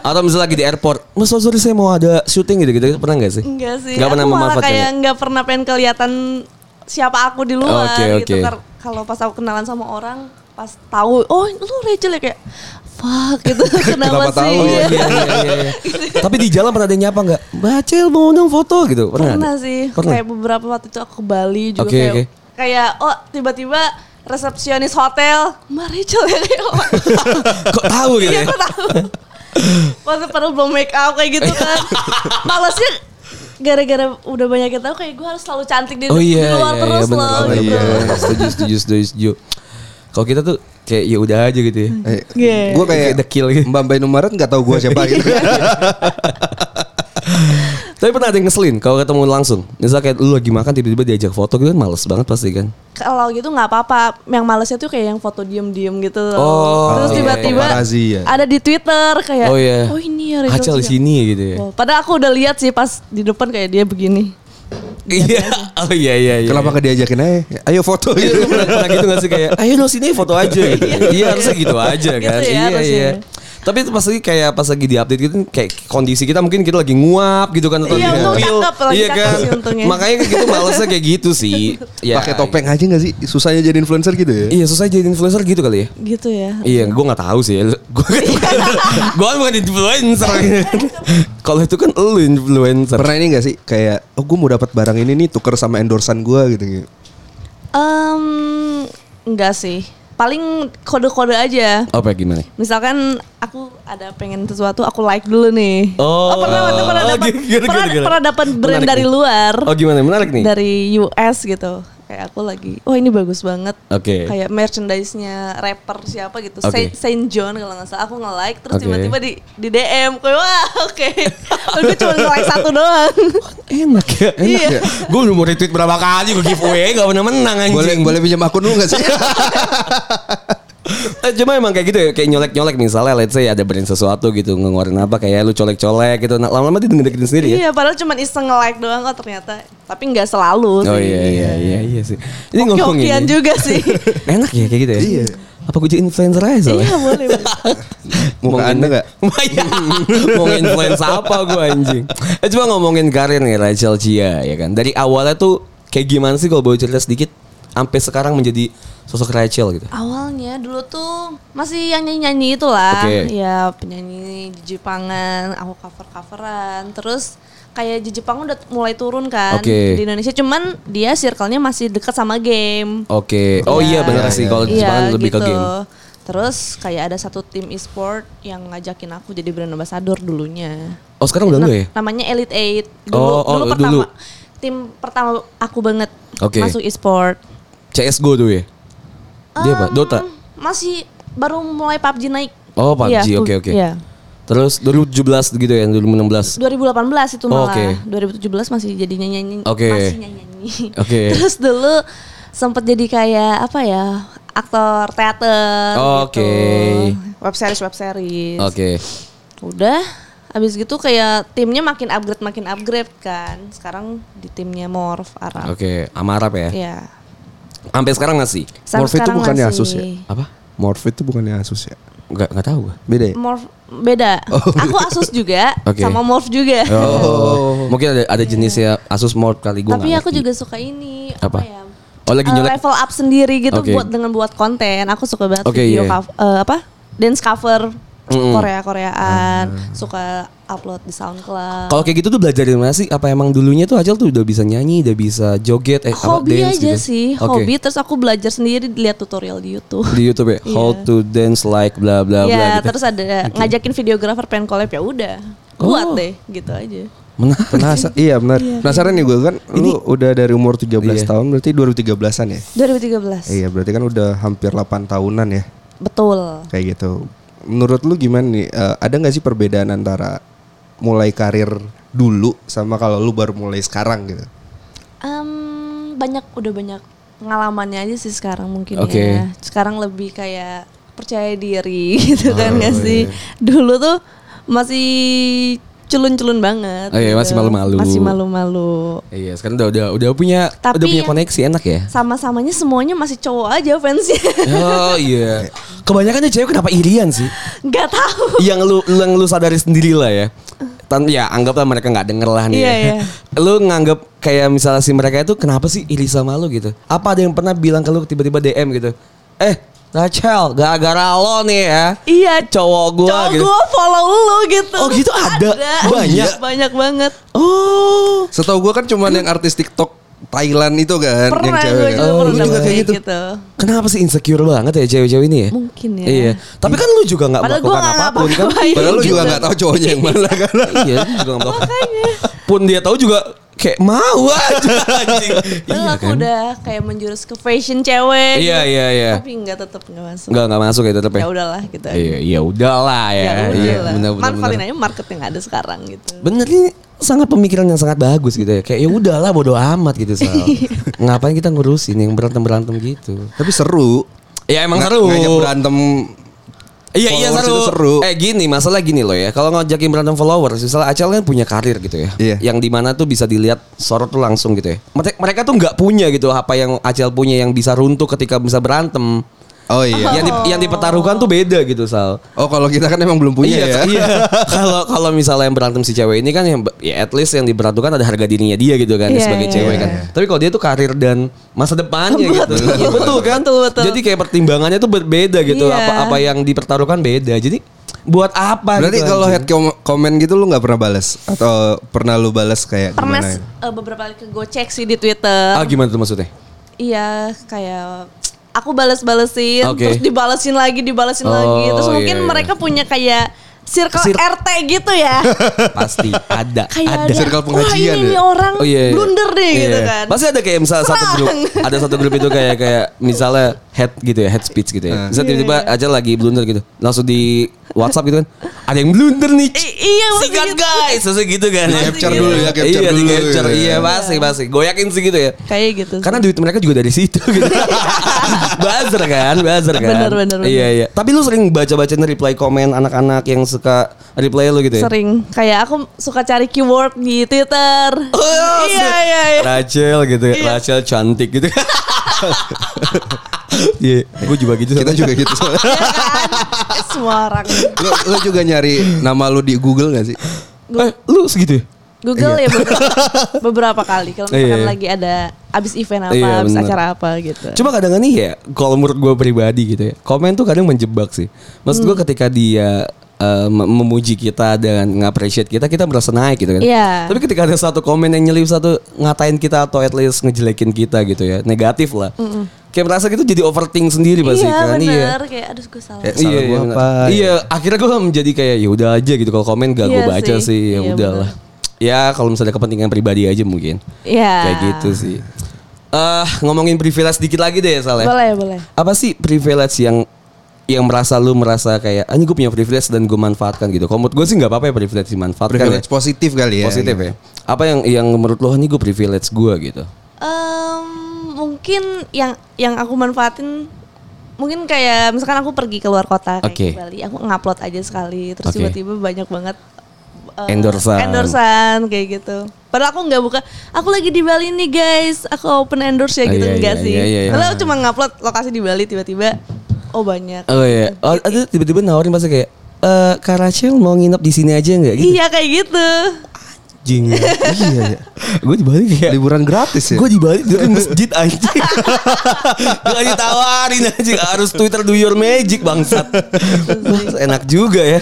B: Atau misalnya lagi di airport Mas oh, sorry saya mau ada syuting gitu-gitu Pernah gak sih?
C: Enggak sih.
B: Gak pernah
C: aku malah
B: memanfaatkan ya?
C: kayak nggak pernah pengen kelihatan siapa aku di luar
B: Oke, oke.
C: gitu. Kar- Kalau pas aku kenalan sama orang, pas tahu, oh lu Rachel ya kayak fuck gitu. Kenapa,
A: Kenapa
C: sih?
A: tahu?
B: Iya,
C: Iya.
B: iya, iya, iya. Tapi di jalan pernah ada yang nyapa nggak? Bacil mau dong foto gitu. Pernah?
C: Pernah
B: ada?
C: sih.
B: Pernah.
C: Kayak beberapa waktu itu aku ke Bali juga
B: Oke,
C: kayak
B: oke.
C: kayak oh tiba-tiba resepsionis hotel Mbak Rachel ya kayak oh,
B: Kok tahu gitu
C: iya
B: ya?
C: aku tahu. Waktu perlu belum make up kayak gitu kan. Malesnya gara-gara udah banyak yang tahu kayak gue harus selalu cantik di,
B: Oh
C: di
B: iya,
C: luar
B: iya, iya,
C: terus
B: bener, iya.
C: loh
B: bener,
C: gitu.
B: bener, bener. Setuju, setuju, setuju, setuju. Kalau kita tuh kayak ya udah aja gitu ya.
A: Eh,
C: Iya.
A: Gue kayak
B: Kayak dekil gitu.
A: Mbak Mbak Numaret nggak tahu gue siapa gitu.
B: Tapi pernah ada yang ngeselin kalau ketemu langsung. Misalnya kayak lu lagi makan tiba-tiba diajak foto gitu kan males banget pasti kan.
C: Kalau gitu nggak apa-apa. Yang malesnya tuh kayak yang foto diem-diem gitu. loh.
B: Oh,
C: terus
B: iya,
C: tiba-tiba
A: paparazzi ya.
C: ada di Twitter kayak
B: Oh iya.
C: oh ini ya Rachel
B: Hacal di
C: Chia."
B: sini ya gitu ya.
C: Oh, padahal aku udah lihat sih pas di depan kayak dia begini.
B: Iya. Oh iya iya iya.
A: Kenapa gak diajakin aja? Ayo foto
B: Iya, lu
A: gitu.
B: pernah, pernah gitu gak sih kayak ayo dong sini foto aja gitu. iya harusnya gitu aja
C: Gitu
B: kan
C: ya,
B: iya
C: harusnya.
B: iya tapi itu pas lagi kayak pas lagi di update gitu kayak kondisi kita mungkin kita lagi nguap gitu kan atau
C: Iya,
B: di
C: untung
B: mobil.
C: cakep, lagi
B: iya
C: cakep
B: kan
C: sih untungnya.
B: makanya kayak gitu malesnya kayak gitu sih ya,
A: Pakai topeng aja gak sih? Susahnya jadi influencer gitu ya?
B: iya susah jadi influencer gitu kali ya
C: Gitu ya.
B: Iya, gue nggak tahu sih. Gue
C: Iya.
B: gue kan bukan influencer. Kalau itu kan lu influencer.
A: Pernah ini gak sih? Kayak, oh gue mau dapat barang ini nih tuker sama endorsan gue gitu.
C: Em, enggak sih. Paling kode-kode aja.
B: Apa gimana?
C: Misalkan aku ada pengen sesuatu, aku like dulu nih.
B: Oh,
C: pernah pernah pernah
B: oh,
C: dapat
B: gini, gini,
C: pernah,
B: gini, gini.
C: pernah dapat brand
B: Menarik
C: dari
B: nih.
C: luar.
B: Oh gimana? Menarik nih.
C: dari US gitu kayak aku lagi oh ini bagus banget
B: Oke.
C: kayak merchandise-nya rapper siapa gitu
B: Oke.
C: Saint, Saint John kalau nggak salah aku nge-like terus
B: Oke.
C: tiba-tiba di di DM kayak wah oke gue cuma nge-like satu doang
B: Enak ya, enak
C: Iya.
B: ya. Gue udah mau retweet berapa kali gue giveaway gak pernah menang anjing.
A: Boleh boleh pinjam akun lu gak sih?
B: Eh, Cuma emang kayak gitu ya, kayak nyolek-nyolek misalnya let's say ada brand sesuatu gitu ngeluarin apa kayak lu colek-colek gitu. Nah, lama-lama dia ngedeketin sendiri ya.
C: iya padahal cuma iseng nge-like doang kok ternyata tapi nggak selalu
B: Oh
C: sih.
B: iya iya iya iya sih. Ini ngomongin.
C: Oke-okean juga sih
B: Enak ya kayak gitu ya.
A: Iya.
B: Apa gue jadi influencer aja soalnya?
C: iya boleh boleh.
A: Muka
B: Mau
A: anda
B: nge-
A: gak?
B: Iya. Mau influencer apa gue anjing? Eh, Cuma ngomongin karir nih Rachel Chia ya kan. Dari awalnya tuh kayak gimana sih kalau boleh cerita sedikit sampai sekarang menjadi sosok Rachel gitu?
C: Awalnya dulu tuh masih yang nyanyi-nyanyi itulah.
B: Oke.
C: Ya penyanyi di Jepangan, aku cover-coveran. Terus kayak di Jepang udah mulai turun kan
B: Oke.
C: di Indonesia. Cuman dia circle-nya masih dekat sama game.
B: Oke. Oh iya
C: Ya.
B: benar sih kalau di
C: Iya,
B: Jepang lebih ke
C: gitu.
B: game.
C: Terus kayak ada satu tim e-sport yang ngajakin aku jadi brand ambassador dulunya.
B: Oh sekarang udah enggak ya?
C: Nah, Namanya Elite Eight. Dulu,
B: Oh, oh,
C: dulu
B: dulu.
C: pertama tim pertama aku banget
B: Oke.
C: masuk e-sport.
B: CS:GO tuh ya? Dia apa?
C: Em,
B: Dota?
C: Masih baru mulai PUBG naik.
B: Oh PUBG,
C: Iya,
B: oke oke.
C: Iya.
B: Terus 2017 gitu ya, 2016.
C: 2018 itu
B: Oh,
C: malah.
B: oke.
C: 2017 masih jadi nyanyi-nyanyi.
B: Oke.
C: Masih nyanyi-nyanyi.
B: Oke.
C: Terus dulu sempet jadi kayak apa ya? Aktor teater
B: Oke.
C: gitu. Web series web series.
B: Oke.
C: Udah habis gitu kayak timnya makin upgrade makin upgrade kan. Sekarang di timnya Morph Arab.
B: Oke, Amarap ya.
C: Iya.
B: Sampai sekarang nggak sih?
C: Sam
A: Morph itu
C: sekarang
A: bukannya
C: masih-
A: Asus ya?
B: Apa?
A: Morph itu bukannya Asus ya?
B: Enggak enggak tahu. gua.
A: Beda ya?
C: Morph beda. Aku Asus juga
B: Oh, Oke.
C: sama Morph juga.
B: Oh. Mungkin ada ada jenisnya Asus Mode kali gue.
C: Tapi aku juga suka ini
B: Apa?
C: apa, ya?
B: Oh lagi
C: eh,
B: nyolek.
C: level up sendiri gitu
B: Oke.
C: buat dengan buat konten. Aku suka banget
B: Oke,
C: video
B: iya.
C: cov- eh, apa? Dance cover
B: Mm-mm. Ah.
C: Korea-koreaan, suka upload di SoundCloud.
B: Kalau kayak gitu tuh belajar dari mana sih? Apa emang dulunya tuh Acel tuh udah bisa nyanyi, udah bisa joget, eh apa,
C: hobi
B: dance
C: aja
B: gitu?
C: sih,
B: Oke.
C: hobi Iya. terus aku belajar sendiri lihat tutorial di YouTube.
B: Di YouTube ya, how to dance like bla bla bla
C: Ya,
B: gitu.
C: terus ada ngajakin videografer pengen collab ya udah.
B: Oh.
C: Buat deh gitu aja.
B: Menarik.
A: Penasa- iya benar. Penasaran nih gue kan lu udah dari umur 13 tahun berarti 2013-an ya?
C: 2013.
A: Iya, berarti kan udah hampir 8 tahunan ya
C: Betul.
A: kayak gitu. Menurut lu gimana nih? Eh, ada nggak sih perbedaan antara mulai karir dulu sama kalau lu baru mulai sekarang gitu?
C: Em, banyak udah banyak pengalamannya aja sih sekarang mungkin
B: Oke.
C: ya. Sekarang lebih kayak percaya diri
B: Oh,
C: gitu kan
B: iya.
C: nggak sih. Dulu tuh masih culun-culun banget.
B: Oh iya,
C: gitu.
B: masih malu-malu.
C: Masih malu-malu.
B: Iya, sekarang udah udah udah punya
C: Tapi
B: udah punya
C: yang-
B: koneksi enak ya.
C: Sama-samanya semuanya masih cowok aja fansnya.
B: Oh iya. Kebanyakan tuh cewek kenapa irian sih?
C: Nggak tahu.
B: yang lu yang lu sadari sendiri lah ya. Tan ya anggaplah mereka nggak denger lah nih.
C: Iya,
B: ya.
C: iya.
B: Lu nganggap kayak misalnya si mereka itu kenapa sih iri sama lu gitu? Apa ada yang pernah bilang ke lu tiba-tiba DM gitu? Eh, Rachel, gara-gara lo nih ya.
C: Iya.
B: Cowok gua
C: Cowok
B: gitu.
C: gua follow lu gitu.
B: Oh, gitu ada? Oh,
C: Banyak.
B: iya.
C: Banyak banget.
B: Oh.
A: Setahu gue kan cuman yang artis TikTok Thailand itu kan yang
C: Pernah
A: cewek
C: gue
A: kan.
C: juga
B: Oh,
C: pernah
B: lu juga kayak
C: kayak
B: gitu.
C: gitu.
B: Kenapa sih insecure banget ya cewek-cewek ini ya?
C: Mungkin ya.
B: Iya. Tapi kan lu juga nggak
C: Padahal gua
B: melakukan
C: nggak
B: apapun kan.
C: ngapa-ngapain.
A: Padahal lu
C: Gitu.
A: juga nggak tahu cowoknya yang mana kan.
B: iya, lu juga nggak melakukan. Pun dia tahu juga kayak mau aja anjing.
C: Padahal aku udah kayak menjurus ke fashion cewek.
B: kan?
C: gitu.
B: Iya, iya, iya.
C: Tapi nggak tetap nggak masuk.
B: Enggak enggak masuk ya tetap ya.
C: Eh, Ya udahlah gitu. aja.
B: Iya, ya udahlah ya.
C: Ya
B: Iya,
C: udahlah. ya.
B: benar benar.
C: Manfaatin
B: benar.
C: aja market yang ada sekarang gitu.
B: Bener ini sangat pemikiran yang sangat bagus gitu ya. Kayak ya udahlah bodo amat gitu Sal. Ngapain kita ngurusin yang berantem-berantem gitu.
A: Tapi seru.
B: Ya emang
A: Nga-
B: seru.
A: Ngajak berantem.
B: Iya iya
A: Followers
B: seru.
A: itu seru.
B: Eh gini masalah gini loh ya. Kalau ngajakin berantem followers, misalnya Acel kan punya karir gitu ya.
A: Iya.
B: Yang dimana tuh bisa dilihat sorot tuh langsung gitu ya. Mereka, mereka tuh nggak punya gitu apa yang Acel punya yang bisa runtuh ketika bisa berantem.
A: Oh iya.
B: Yang, di, yang dipertaruhkan tuh beda gitu Sal.
A: Oh kalau kita kan emang belum punya ya.
B: iya, iya. Kalau kalau misalnya yang berantem si cewek ini kan yang ya at least yang diperhatikan ada harga dirinya dia gitu kan
C: Iya,
B: sebagai
C: iya,
B: cewek
A: iya.
B: kan. Tapi kalau dia tuh karir dan masa depannya gitu.
C: Betul.
B: Iya, betul kan?
C: Betul, betul.
B: Jadi kayak pertimbangannya tuh berbeda gitu.
C: Iya.
B: Apa apa yang dipertaruhkan beda. Jadi buat apa
A: Berarti
B: gitu
A: kalau
B: anjing?
A: head com- comment gitu lu nggak pernah balas atau pernah lu balas kayak
C: Pernah
A: gimana?
C: s- eh, beberapa kali ke gue cek sih di Twitter.
B: Ah gimana tuh maksudnya?
C: Iya, kayak aku balas-balesin,
B: Oke.
C: terus dibalesin lagi, dibalesin
B: Oh,
C: lagi. Terus
B: iya,
C: mungkin
B: iya.
C: mereka punya kayak circle
B: Sir-
C: RT gitu ya.
B: Pasti ada
C: kayak ada,
B: ada.
A: Circle pengajian
C: Wah, ini
A: ya?
C: nih orang
B: Oh, iya, iya.
C: blunder deh gitu
B: Iya.
C: kan.
B: Pasti ada kayak misalnya satu grup, ada satu grup itu kayak kayak misalnya head gitu ya, head speech gitu
A: Nah.
B: ya.
C: Iya,
B: Misalnya tiba-tiba aja lagi blunder gitu, langsung di WhatsApp gitu kan, ada yang blunder nih.
C: I- iya, pasti
B: sikat
C: gitu.
B: guys, sesuai gitu kan.
A: Di capture dulu ya, capture
B: iya, Di
A: dulu
B: capture,
A: ya.
B: iya pasti pasti. Gue yakin sih gitu ya.
C: Kayak gitu. sih.
B: Karena duit mereka juga dari situ gitu. buzzer kan, buzzer kan.
C: Bener, bener, bener.
B: Iya, iya. Tapi lu sering baca-bacain reply komen anak-anak yang suka reply lu gitu ya?
C: sering kayak aku suka cari keyword di Twitter.
B: Oh,
C: iya iya iya.
B: Rachel gitu ya. Rachel cantik gitu. Iya, gue juga gitu.
A: Kita juga gitu.
C: Iya kan? Semua orang.
A: lu, lu juga nyari nama lu di Google gak sih?
B: Eh, lu segitu ya?
C: Google ya beberapa, beberapa kali kalau
B: Iya.
C: misalkan lagi ada abis event apa,
B: Iya,
C: abis
B: bener.
C: acara apa gitu.
B: Cuma kadang nih ya, kalau menurut gue pribadi gitu ya, komen tuh kadang menjebak sih. Maksud
C: Hmm.
B: gue ketika dia eh, mem- memuji kita dan nge-appreciate kita, kita merasa naik gitu kan.
C: Iya.
B: Tapi ketika ada satu komen yang nyelip satu ngatain kita atau at least ngejelekin kita gitu ya, negatif lah. Kayak merasa gitu jadi overthink sendiri pasti
C: iya
B: kan.
C: bener, kayak aduh gue salah.
A: Kayak salah gua
B: bener.
A: apa,
B: Oh. Iya, akhirnya gue menjadi kayak ya udah aja gitu kalau komen gak gue
C: Iya
B: baca
C: sih,
B: sih, ya
C: iya
B: udahlah. Ya kalau misalnya kepentingan pribadi aja mungkin.
C: Iya.
B: Kayak gitu sih. Eh ngomongin privilege dikit lagi deh Saleh.
C: Boleh, boleh.
B: Apa sih privilege yang yang merasa lu merasa kayak anjing gue punya privilege dan gue manfaatkan gitu. Kalau menurut gue sih nggak apa-apa ya privilege dimanfaatkan
A: Privilege
B: ya.
A: positif kali ya.
B: Positif ya. Apa yang yang menurut lo ini gue privilege gue gitu.
C: Em, mungkin yang yang aku manfaatin mungkin kayak misalkan aku pergi keluar kota kayak
B: Oke.
C: ke Bali, aku ngupload aja sekali, terus
B: Oke.
C: tiba-tiba banyak banget eh,
B: Endorsean.
C: endorsean kayak gitu. Padahal aku nggak buka, aku lagi di Bali nih guys, aku open endorse ya
B: Ah,
C: gitu
B: iya,
C: enggak
B: iya,
C: sih.
B: iya, iya, iya.
C: Padahal aku cuma ngupload lokasi di Bali tiba-tiba oh banyak.
B: Oh iya. Oh, ada tiba-tiba nawarin pasti kayak eh Kak Rachel mau nginep di sini aja nggak gitu.
C: Iya kayak gitu.
B: Jing. Iya.
A: iya ya.
B: gue di Bali kayak
A: Liburan gratis ya.
B: Gue dibalik dari masjid anjing Gak ditawarin anjing Harus Twitter do your magic bangsat Bangsat, Enak juga ya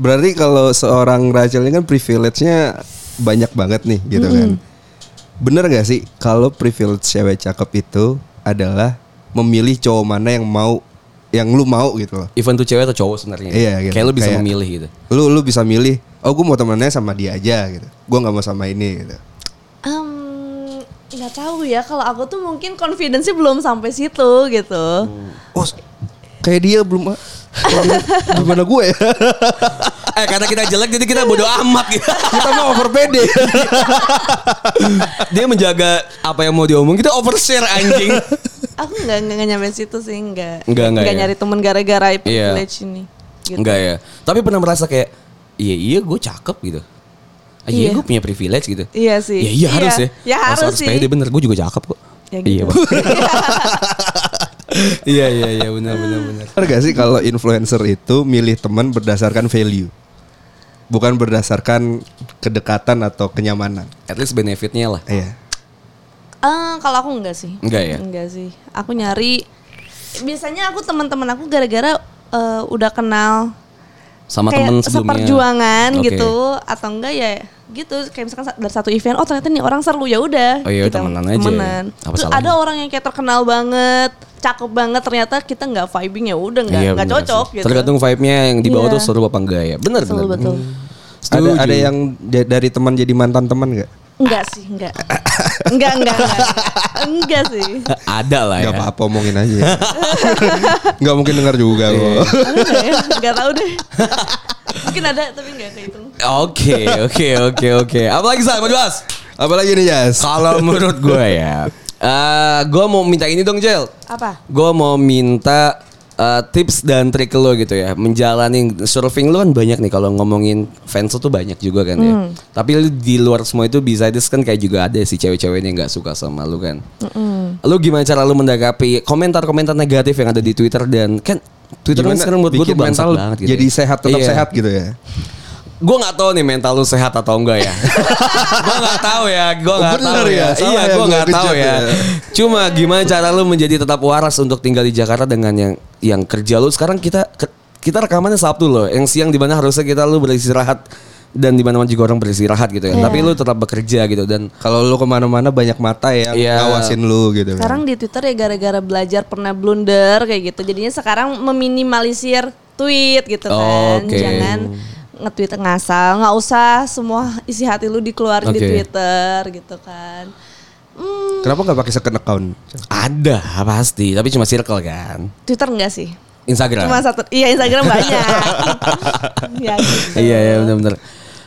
A: Berarti kalau seorang Rachel ini kan privilege-nya banyak banget nih gitu kan. Bener gak sih kalau privilege cewek cakep itu adalah memilih cowok mana yang mau yang lu mau gitu loh.
B: Event tuh cewek atau cowok sebenarnya
A: Iya, gitu.
B: Kayak lu bisa
A: Kayak-
B: memilih gitu
A: Lu lu bisa milih, oh gue mau temennya sama dia aja gitu. Gue nggak mau sama ini gitu.
C: Em, nggak tahu ya kalau aku tuh mungkin confidence-nya belum sampai situ gitu.
A: Oh, s- kayak dia belum "Ah, gimana gue ya?
B: Eh karena kita jelek jadi kita bodoh amat gitu
A: Kita mau overpede.
B: Dia menjaga apa yang mau diomong Kita overshare anjing
C: Aku nggak nggak nggak nyampe situ sih nggak
B: Nggak, nggak ya.
C: nyari temen gara-gara privilege ini. Gitu.
B: Enggak ya Tapi pernah merasa kayak Iya iya gue cakep gitu Ah, Iya
C: Iya.
B: gue punya privilege gitu
C: Iya sih.
B: Ya iya harus ya
C: Ya
B: Masa
C: harus, sih.
B: pede bener gue juga cakep kok
C: Ya
B: Iya
C: gitu.
B: Bang. Iya iya iya benar benar benar
A: Bener gak sih kalau influencer itu milih teman berdasarkan value? Bukan berdasarkan kedekatan atau kenyamanan.
B: At least benefitnya lah.
A: Iya.
C: Eh, kalau aku enggak sih.
B: Enggak ya?
C: Enggak sih. Aku nyari biasanya aku teman-teman aku gara-gara eh, udah kenal
B: Sama
C: kayak
B: temen sebelumnya.
C: seperjuangan
B: Oke.
C: gitu atau enggak ya gitu kayak misalkan sa- dari satu event oh ternyata nih orang seru ya udah
B: Oh iya,
C: kita
B: temenan aja ya. Apa
C: Terus
B: salahnya?
C: ada orang yang kayak terkenal banget cakep banget ternyata kita nggak vibing ya udah nggak
B: Iya,
C: nggak
B: bener
C: cocok
B: sih.
C: gitu
B: Tergantung vibe-nya yang dibawa
C: Iya.
B: tuh seru apa enggak ya. Benar
C: Betul,
B: benar.
C: betul.
A: Ada ada yang da- dari teman jadi mantan teman nggak?
C: enggak sih enggak enggak enggak enggak, enggak sih
B: ada lah ya.
A: Nggak apa-apa omongin aja. Nggak mungkin dengar juga
B: Iya.
A: kok.
C: Ada nggak ya? nggak tahu deh mungkin ada tapi gitu. nggak kehitung
B: Oke, oke, oke, oke. Apalagi Sal, mau dibahas?
A: Apalagi nih Jas.
B: Kalau menurut gue ya, eh gue mau minta ini dong Jel.
C: apa
B: Gue mau minta eh, tips dan trik lo gitu ya Menjalani surfing lo kan banyak nih Kalau ngomongin fans lo tuh banyak juga kan ya Tapi lu di luar semua itu besides kan kayak juga ada sih cewek-cewek yang gak suka sama lu kan Lu gimana cara lu mendakapi komentar-komentar negatif yang ada di Twitter Dan kan Twitter kan
A: Gimana
B: sekarang menurut gue
A: bikin
B: tuh bangsat
A: mental
B: banget gitu
A: Jadi
B: ya.
A: sehat tetap
B: Iya.
A: sehat gitu ya.
B: Gue gak tahu nih mental lu sehat atau enggak ya. gue gak tahu ya, gue
A: Oh,
B: gak
A: bener
B: tahu
A: ya,
B: ya.
A: salah
B: Iya,
A: ya
B: gue
A: gua
B: gak tahu
A: kejut
B: ya.
A: ya.
B: Cuma gimana cara lu menjadi tetap waras untuk tinggal di Jakarta dengan yang yang kerja lu sekarang kita ke- kita rekamannya Sabtu loh, yang siang dimana harusnya kita lu beristirahat dan di mana juga orang beristirahat gitu ya.
C: Iya.
B: Tapi lu tetap bekerja gitu dan
A: Kalau lu kemana-mana banyak mata yang
B: Iya.
A: ngawasin lu gitu. kan.
C: Sekarang di Twitter ya gara-gara belajar pernah blunder kayak gitu. Jadinya sekarang meminimalisir tweet gitu kan.
B: Oke.
C: Jangan nge-tweet ngasal, nggak usah semua isi hati lu dikeluarin di
B: Oke.
C: Twitter gitu kan. Hmm,
A: Kenapa nggak pakai second account?
B: ada pasti, tapi cuma circle kan.
C: Twitter enggak sih?
B: Instagram.
C: Cuma satu. Iya, Instagram banyak. ya gitu.
B: Iya, iya benar-benar.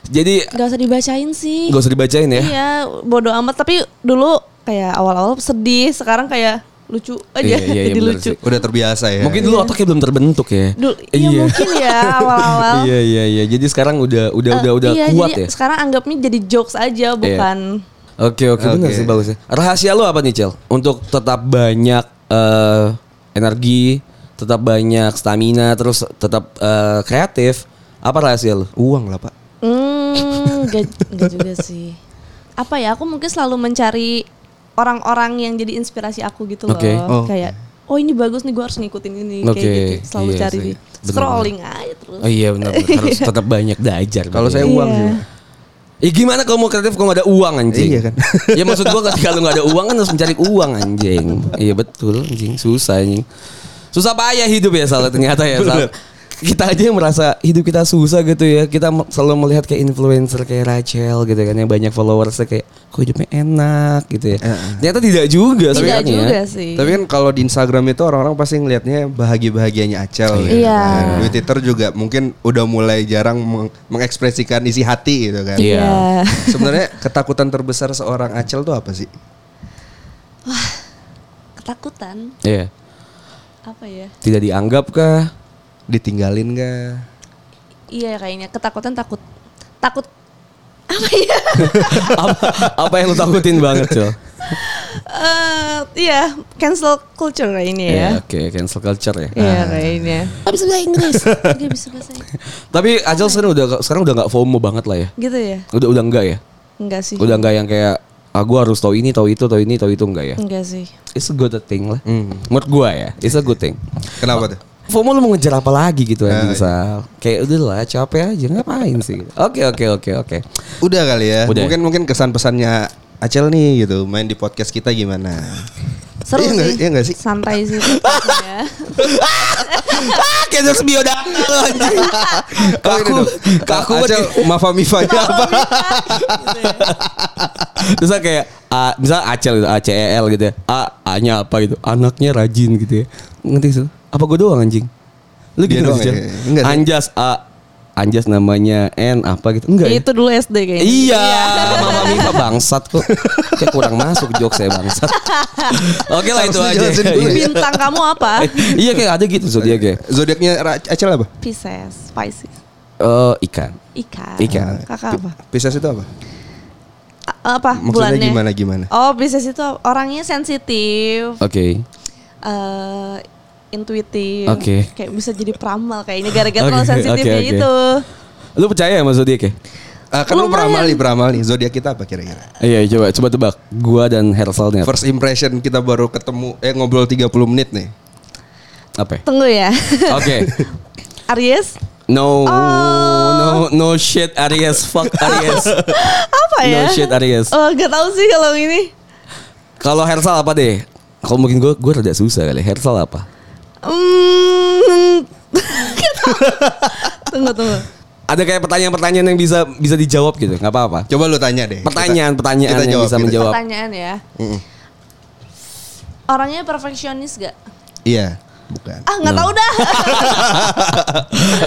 B: Jadi
C: Gak usah dibacain sih.
B: gak usah dibacain ya.
C: Iya, bodo amat tapi dulu kayak awal-awal sedih, sekarang kayak lucu aja
B: Iya, iya, iya,
C: jadi
B: bener
C: lucu.
B: sih.
A: Udah terbiasa ya.
B: Mungkin dulu otaknya belum terbentuk ya.
C: Dulu, iya, mungkin ya awal-awal.
B: Iya iya iya. Jadi sekarang udah udah udah udah
C: Iya,
B: kuat
C: jadi
B: ya. Iya.
C: Sekarang anggapnya jadi jokes aja bukan
B: Oke oke benar
A: Oke.
B: sih bagus ya. Rahasia lo apa nih Cel? Untuk tetap banyak eh, energi, tetap banyak stamina, terus tetap eh, kreatif. Apa rahasia lo?
A: uang lah pak.
C: Hmm, Hmm, enggak, enggak juga sih. Apa ya? Aku mungkin selalu mencari orang-orang yang jadi inspirasi aku gitu loh.
B: Oke.
A: Oh.
C: Kayak oh ini bagus nih gue harus ngikutin ini kayak
B: Oke,
C: gitu. Selalu
B: iya
C: cari
B: sih.
C: di
B: Bener.
C: scrolling aja terus.
B: Oh iya benar benar. harus tetap banyak belajar.
A: Kalau saya
B: Bang, ya.
A: uang
C: Iya.
A: sih.
B: Ya gimana kalau mau kreatif kalau gak ada uang anjing?
A: Iya kan?
B: ya maksud gua ketika lu gak ada uang kan harus mencari uang anjing. iya betul anjing, susah anjing. Susah payah hidup ya salah ternyata ya. Sal. Kita aja yang merasa hidup kita susah gitu ya. Kita me- selalu melihat kayak influencer kayak Rachel gitu kan yang banyak followersnya kayak kok hidupnya enak gitu ya. Ternyata tidak juga
C: Tidak
B: sebenarnya. ya.
C: juga sih.
A: Tapi kan kalau di Instagram itu orang-orang pasti ngelihatnya bahagia-bahagianya Acel. gitu
C: Iya.
A: kan. Di Twitter juga mungkin udah mulai jarang meng- mengekspresikan isi hati gitu kan.
B: Iya.
C: Iya.
A: Sebenarnya ketakutan terbesar seorang Acel tuh apa sih?
C: Ketakutan
B: Iya.
C: apa ya?
B: Tidak dianggap kah?
A: Ditinggalin gak?
C: Iya kayaknya ketakutan takut takut
B: apa, apa yang lu takutin banget, Cel?
C: eh iya cancel culture kayaknya ya.
B: Iya, Oke, cancel culture ya.
C: Iya
A: nah.
C: kayaknya. Gak bisa bahasa Inggris. Gak bisa bahasa Inggris.
B: Tapi Acel sekarang udah sekarang udah nggak FOMO banget lah ya.
C: Gitu ya?
B: Udah udah enggak ya.
C: Enggak sih.
B: Udah enggak yang kayak ah gua harus tahu ini, tahu itu, tahu ini, tahu itu enggak ya.
C: Enggak sih.
B: It's a good thing lah. Menurut gua ya, it's a good thing.
A: Kenapa tuh?
B: FOMO lu mau ngejar apa lagi gitu anjing Sal. Kayak udah lah capek aja ngapain sih. Oke oke oke oke.
A: Udah kali ya.
B: Udah.
A: Mungkin mungkin kesan-pesannya Acel nih gitu main di podcast kita gimana?
C: Seru
A: Iya nggak-
C: sih.
A: iya nggak sih?
C: Santai sih. Iya.
B: Ah, kayak terus biodata lu anjing.
A: Oh,
B: Kaku kaku banget.
A: Acel Mafa Mifanya apa?
B: Terus saya kayak A, misal Acel gitu, A C E L gitu ya. A A-nya apa gitu. Anaknya rajin gitu ya. Ngerti sih? Apa gue doang anjing? Lu
A: Dia
B: gitu doang
A: doang
B: Acel?
A: ya? Enggak sih.
B: Anjas A Anjas namanya N apa gitu. Enggak ya?
C: Itu dulu SD kayaknya.
B: Iya, Mama Mifa bangsat kok. Kayak kurang masuk jokes saya bangsat. Oke lah itu
A: Harus
B: aja.
A: dijelasin dulu ya.
C: Bintang kamu apa?
B: Iya kayak ada gitu zodiak kayak
A: Zodiaknya Ra- Acel apa?
C: Pisces, Pisces.
B: eh ikan.
C: Ikan.
B: Ikan.
C: Kakak apa?
A: Pisces itu apa?
C: A- apa?
A: Maksudnya
C: bulannya?
A: gimana gimana?
C: Oh, Pisces itu orangnya sensitif,
B: Oke.
C: eh intuitif.
B: Oke.
C: Kayak bisa jadi peramal kayaknya gara-gara
B: Oke,
C: terlalu sensitifnya
B: oke, oke.
C: itu.
B: Lu percaya sama zodiak ya?
A: Ah, kan lu
C: Lumayan.
A: peramal nih, peramal nih. Zodiak kita apa kira-kira?
B: Iya, coba coba tebak. Gua dan Hersal nih apa?
A: First impression kita baru ketemu eh ngobrol 30 menit nih.
B: Apa ya?
C: Tunggu ya.
B: Oke.
C: Aries
B: No,
C: Oh.
B: no, no shit Aries, fuck Aries.
C: apa
B: No
C: ya?
B: shit, Aries.
C: Oh, gak tahu sih kalau ini.
B: Kalau Hersal apa deh? Kalau mungkin gue gue rada susah kali. Hersal apa?
C: Hmm. Nggak tahu. tunggu tunggu.
B: Ada kayak pertanyaan-pertanyaan yang bisa bisa dijawab gitu, nggak apa-apa.
A: Coba lu tanya deh.
B: Pertanyaan-pertanyaan
A: Kita- kita
B: yang
A: jawab,
B: bisa
A: kita-
B: menjawab.
C: Pertanyaan ya.
A: Mm-mm.
C: Orangnya perfeksionis gak?
A: Iya, bukan.
C: Ah nggak tahu dah.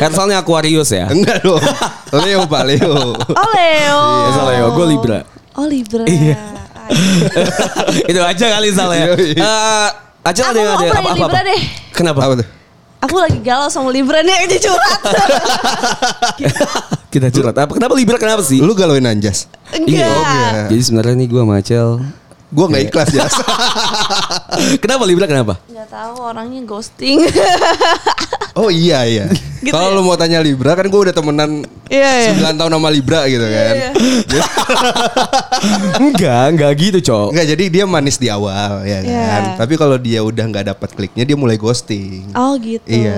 B: Hersalnya Aquarius ya.
A: Enggak dong. Leo Pak Leo.
C: Oh Leo.
B: Iya, salah Leo. Gua Libra.
C: Oh Libra.
B: Iya.
C: Ah,
B: Itu aja kali salahnya.
A: Iya, iya.
B: Eh, aja ada
C: Aku mau
B: ada
C: openin
B: apa-apa.
C: Libra deh.
B: Kenapa?
A: Apa tuh?
C: Aku lagi galau sama Libra nih jadi curhat.
B: Kita curhat. Apa kenapa Libra kenapa sih? Iya,
A: Lu galauin Anjas.
C: Enggak.
A: oke.
B: Jadi sebenarnya nih gue macel.
A: Gua
C: Iya.
A: nggak ikhlas ya.
B: kenapa Libra kenapa?
C: Enggak tahu orangnya ghosting.
A: Oh iya iya.
C: Gitu
A: Kalau
C: ya?
A: lu mau tanya Libra kan gua udah temenan
C: Iya, iya.
A: 9 tahun sama Libra gitu kan.
C: Iya,
B: enggak, enggak gitu, Cok.
A: Enggak jadi dia manis di awal ya
C: Iya.
A: kan. Tapi kalau dia udah nggak dapat kliknya dia mulai ghosting.
C: Oh gitu.
A: Iya.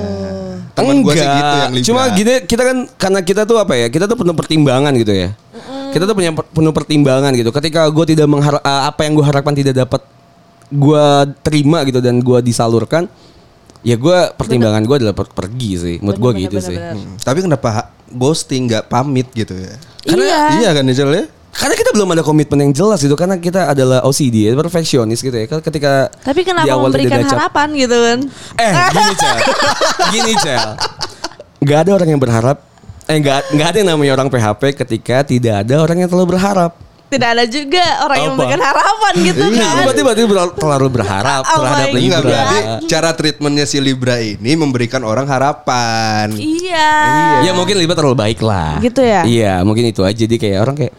A: Temen gua sih gitu yang Libra.
B: Cuma gini kita kan karena kita tuh apa ya? Kita tuh penuh pertimbangan gitu ya. Kita tuh punya per- penuh pertimbangan gitu. Ketika gue tidak menghar- eh, apa yang gue harapkan tidak dapat gue terima gitu dan gue disalurkan, ya gue pertimbangan gue adalah per- pergi sih. Menurut gue
C: Bener,
B: gitu
C: bener,
B: sih.
C: bener.
A: Hmm, Tapi kenapa ha- ghosting nggak pamit gitu ya?
C: Iya.
A: iya kan Angel ya?
B: Karena kita belum ada komitmen yang jelas gitu. Karena kita adalah OCD, ya, perfeksionis gitu ya. Kan Ketika
C: Tapi
B: di
C: kenapa
B: awal tidak
C: memberikan
B: ada cap-
C: harapan gitu kan?
B: Eh gini Cel Gini Cel Gak ada orang yang berharap Eh gak, gak ada yang namanya orang PHP ketika tidak ada orang yang terlalu berharap
C: Tidak ada juga orang yang
B: Apa?
C: memberikan harapan gitu
A: Iya.
C: kan.
B: Nah, berarti berarti berla- terlalu berharap
C: Oh
B: terhadap Iya,
C: my
A: Enggak
B: Libra.
C: God.
A: berarti cara treatmentnya si Libra ini memberikan orang harapan.
C: Iya.
B: Ya mungkin Libra terlalu baik lah.
C: Gitu ya?
B: Iya, mungkin itu aja dia kayak orang kayak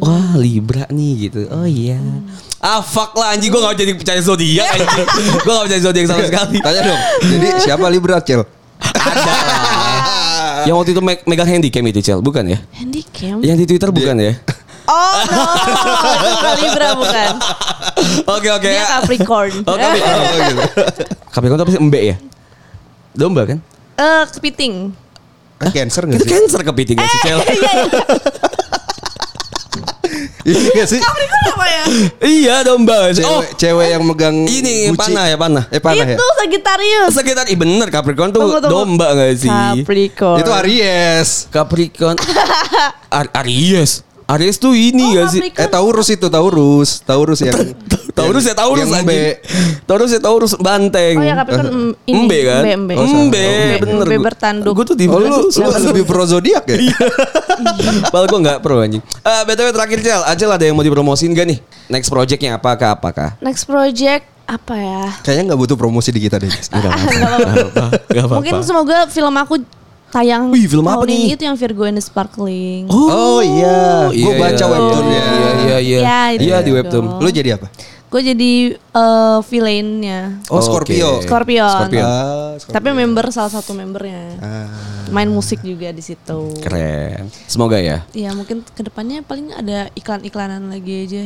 B: wah Libra nih gitu. Oh iya.
C: Hmm.
B: Ah fuck lah anjing gua gak jadi percaya zodiak
C: Iya.
B: anjing. gua gak percaya zodiak sama sekali.
A: Tanya dong. Jadi siapa Libra Cel?
B: Ada lah. Yang waktu itu me- megang handycam itu Cel, bukan ya?
C: Handycam?
B: Yang di Twitter bukan ya?
C: Oh no, itu bukan Libra bukan.
B: Oke oke.
C: Dia Capricorn. Ya.
B: Oh, Capricorn.
A: Oh, gitu.
B: Capricorn itu apa sih? Embe ya? Domba kan?
C: Eh, kepiting.
A: Ah, Cancer
C: Iya
A: nggak
B: Itu
A: sih?
B: cancer kepitingnya
C: Eh,
B: sih Cel.
A: Iya nggak sih?
C: Capricorn apa ya?
B: iya domba.
A: Cewek,
B: Oh
A: cewek yang megang
B: ini
A: guci.
B: panah ya panah.
A: Eh panah ya?
C: itu Sagittarius.
B: Sekitar ih Oh, bener Capricorn tuh
C: Tunggu, tunggu.
B: domba gak sih?
C: Capricorn.
A: Itu Aries.
B: Capricorn. Ar- Aries. Aries tuh ini
C: Oh,
B: gak sih?
A: Eh Taurus itu Taurus, Taurus yang
B: Taurus ya Taurus
A: yang
B: aja.
A: embe.
B: Taurus ya Taurus banteng.
C: Oh ya Capricorn mm, ini
B: Embe kan?
C: Embe, embe.
B: Oh, sama. Embe, bener.
C: Embe bertanduk.
B: Gue tuh di
A: Oh, lu, lu lebih pro zodiak ya?
B: Padahal gue gak pro anjing. Eh BTW terakhir Cel, Acel ada yang mau dipromosin gak nih? Next projectnya apakah apakah?
C: Next project apa ya?
A: Kayaknya nggak butuh promosi di kita deh.
B: Gak apa-apa. Gak apa-apa.
C: Mungkin semoga film aku tayang
B: Wih, film apa
C: tahun ini
B: nih?
C: itu yang Virgo and the Sparkling.
A: Oh, iya. Gua baca
B: ya.
A: webtoonnya.
B: Iya iya iya.
C: Ya, itu
B: Iya di
C: juga.
B: webtoon.
A: Lu jadi apa?
C: Gue jadi eh, villainnya.
A: Oh, Scorpio.
B: Oke.
C: Scorpion.
B: Scorpion.
A: Ah,
C: Tapi member salah satu membernya. Main musik juga di situ.
B: Keren. Semoga ya.
C: Iya mungkin kedepannya paling ada iklan-iklanan lagi aja.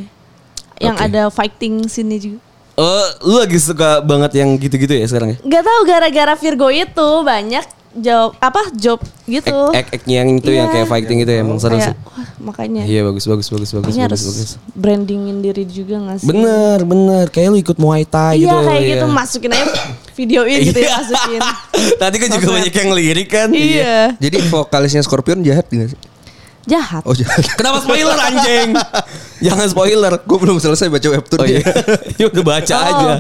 C: Yang
B: Oke.
C: ada fighting sini juga.
B: Eh, lu lagi suka banget yang gitu-gitu ya sekarang ya?
C: Gak tahu gara-gara Virgo itu banyak job apa job gitu.
B: Ek ek yang itu yang
C: Iya.
B: kayak fighting itu ya, emang seru sih.
C: Kayak, wah, makanya.
B: Iya bagus bagus bagus bagus
C: Kayaknya
B: bagus,
C: harus
B: bagus.
C: brandingin diri juga gak sih?
B: Bener bener kayak lu ikut Muay Thai
C: Iya
B: gitu.
C: kayak gitu masukin aja videoin gitu ya
B: Iya.
C: masukin.
B: Tadi kan juga banyak yang lirik kan.
C: iya.
A: Jadi vokalisnya Scorpion jahat nggak sih?
C: Jahat.
A: Oh jahat.
B: Kenapa spoiler anjing? Jangan spoiler.
A: Gue belum selesai baca webtoon
B: Oh iya.
A: dia.
B: ya udah baca
C: Oh.
B: aja.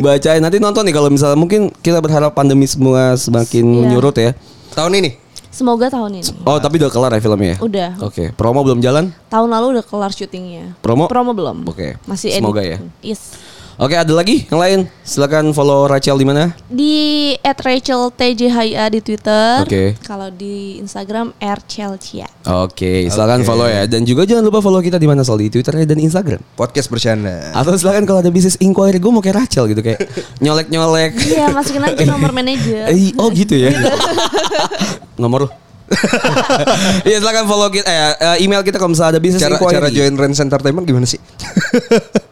B: Bacain nanti nonton nih kalau misalnya mungkin kita berharap pandemi semua semakin
C: Iya.
B: menyurut ya.
A: Tahun ini.
C: Semoga tahun ini.
B: Oh, tapi udah kelar ya filmnya ya?
C: Udah.
B: Oke, promo belum jalan?
C: Tahun lalu udah kelar syutingnya.
B: Promo?
C: Promo belum.
B: Oke.
C: Masih edit.
B: Semoga ya.
C: Yes.
B: Oke, ada lagi yang lain? Silakan follow Rachel di mana?
C: Di at Rachel TJHIA di Twitter.
B: Oke.
C: Kalau di Instagram rchelcia.
B: Oke, silakan
A: Oke.
B: follow ya. Dan juga jangan lupa follow kita di mana Sol di Twitter dan Instagram.
A: Podcast bercanda.
B: Atau silakan kalau ada bisnis inquiry gue mau kayak Rachel gitu kayak nyolek-nyolek.
C: Iya masukin aja nomor manajer.
B: Eh, oh gitu ya. Nomor lu. Iya silakan follow kita eh, eh, email kita kalau misalnya ada bisnis
A: Cara
B: inquiry.
A: cara join Rens Entertainment gimana sih?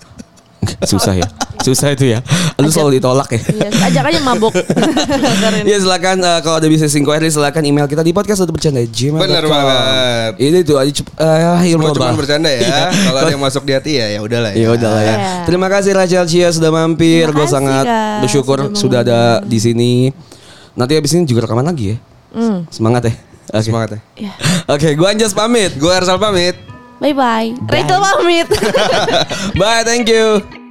B: Susah ya. Susah itu ya. Lu selalu ditolak ya.
C: Iya, ajak aja mabok. Keren.
B: Iya silakan eh, kalau ada bisnis inquiry silakan email kita di podcast untuk bercanda gmail.com.
A: Bener banget.
B: Ini tuh aja cep- eh, ilmu
A: Cuma cuma
B: apa?
A: bercanda
B: Iya.
A: ya. Kalau ada yang masuk di hati ya ya udahlah
B: Ya
A: ya.
B: udah lah ya.
C: Iya.
B: Terima kasih Rachel Chia sudah mampir.
C: Terima
B: Gue
C: kasih,
B: sangat
C: Kak.
B: bersyukur
C: Sudah
B: sudah ada di sini. Nanti abis ini juga rekaman lagi ya.
C: Hmm.
B: Semangat ya. Oke.
A: Semangat ya.
C: Iya.
B: Oke, gue Anjas pamit.
A: Gue Arsal pamit.
C: Bye bye. Rachel pamit.
B: Bye, thank you.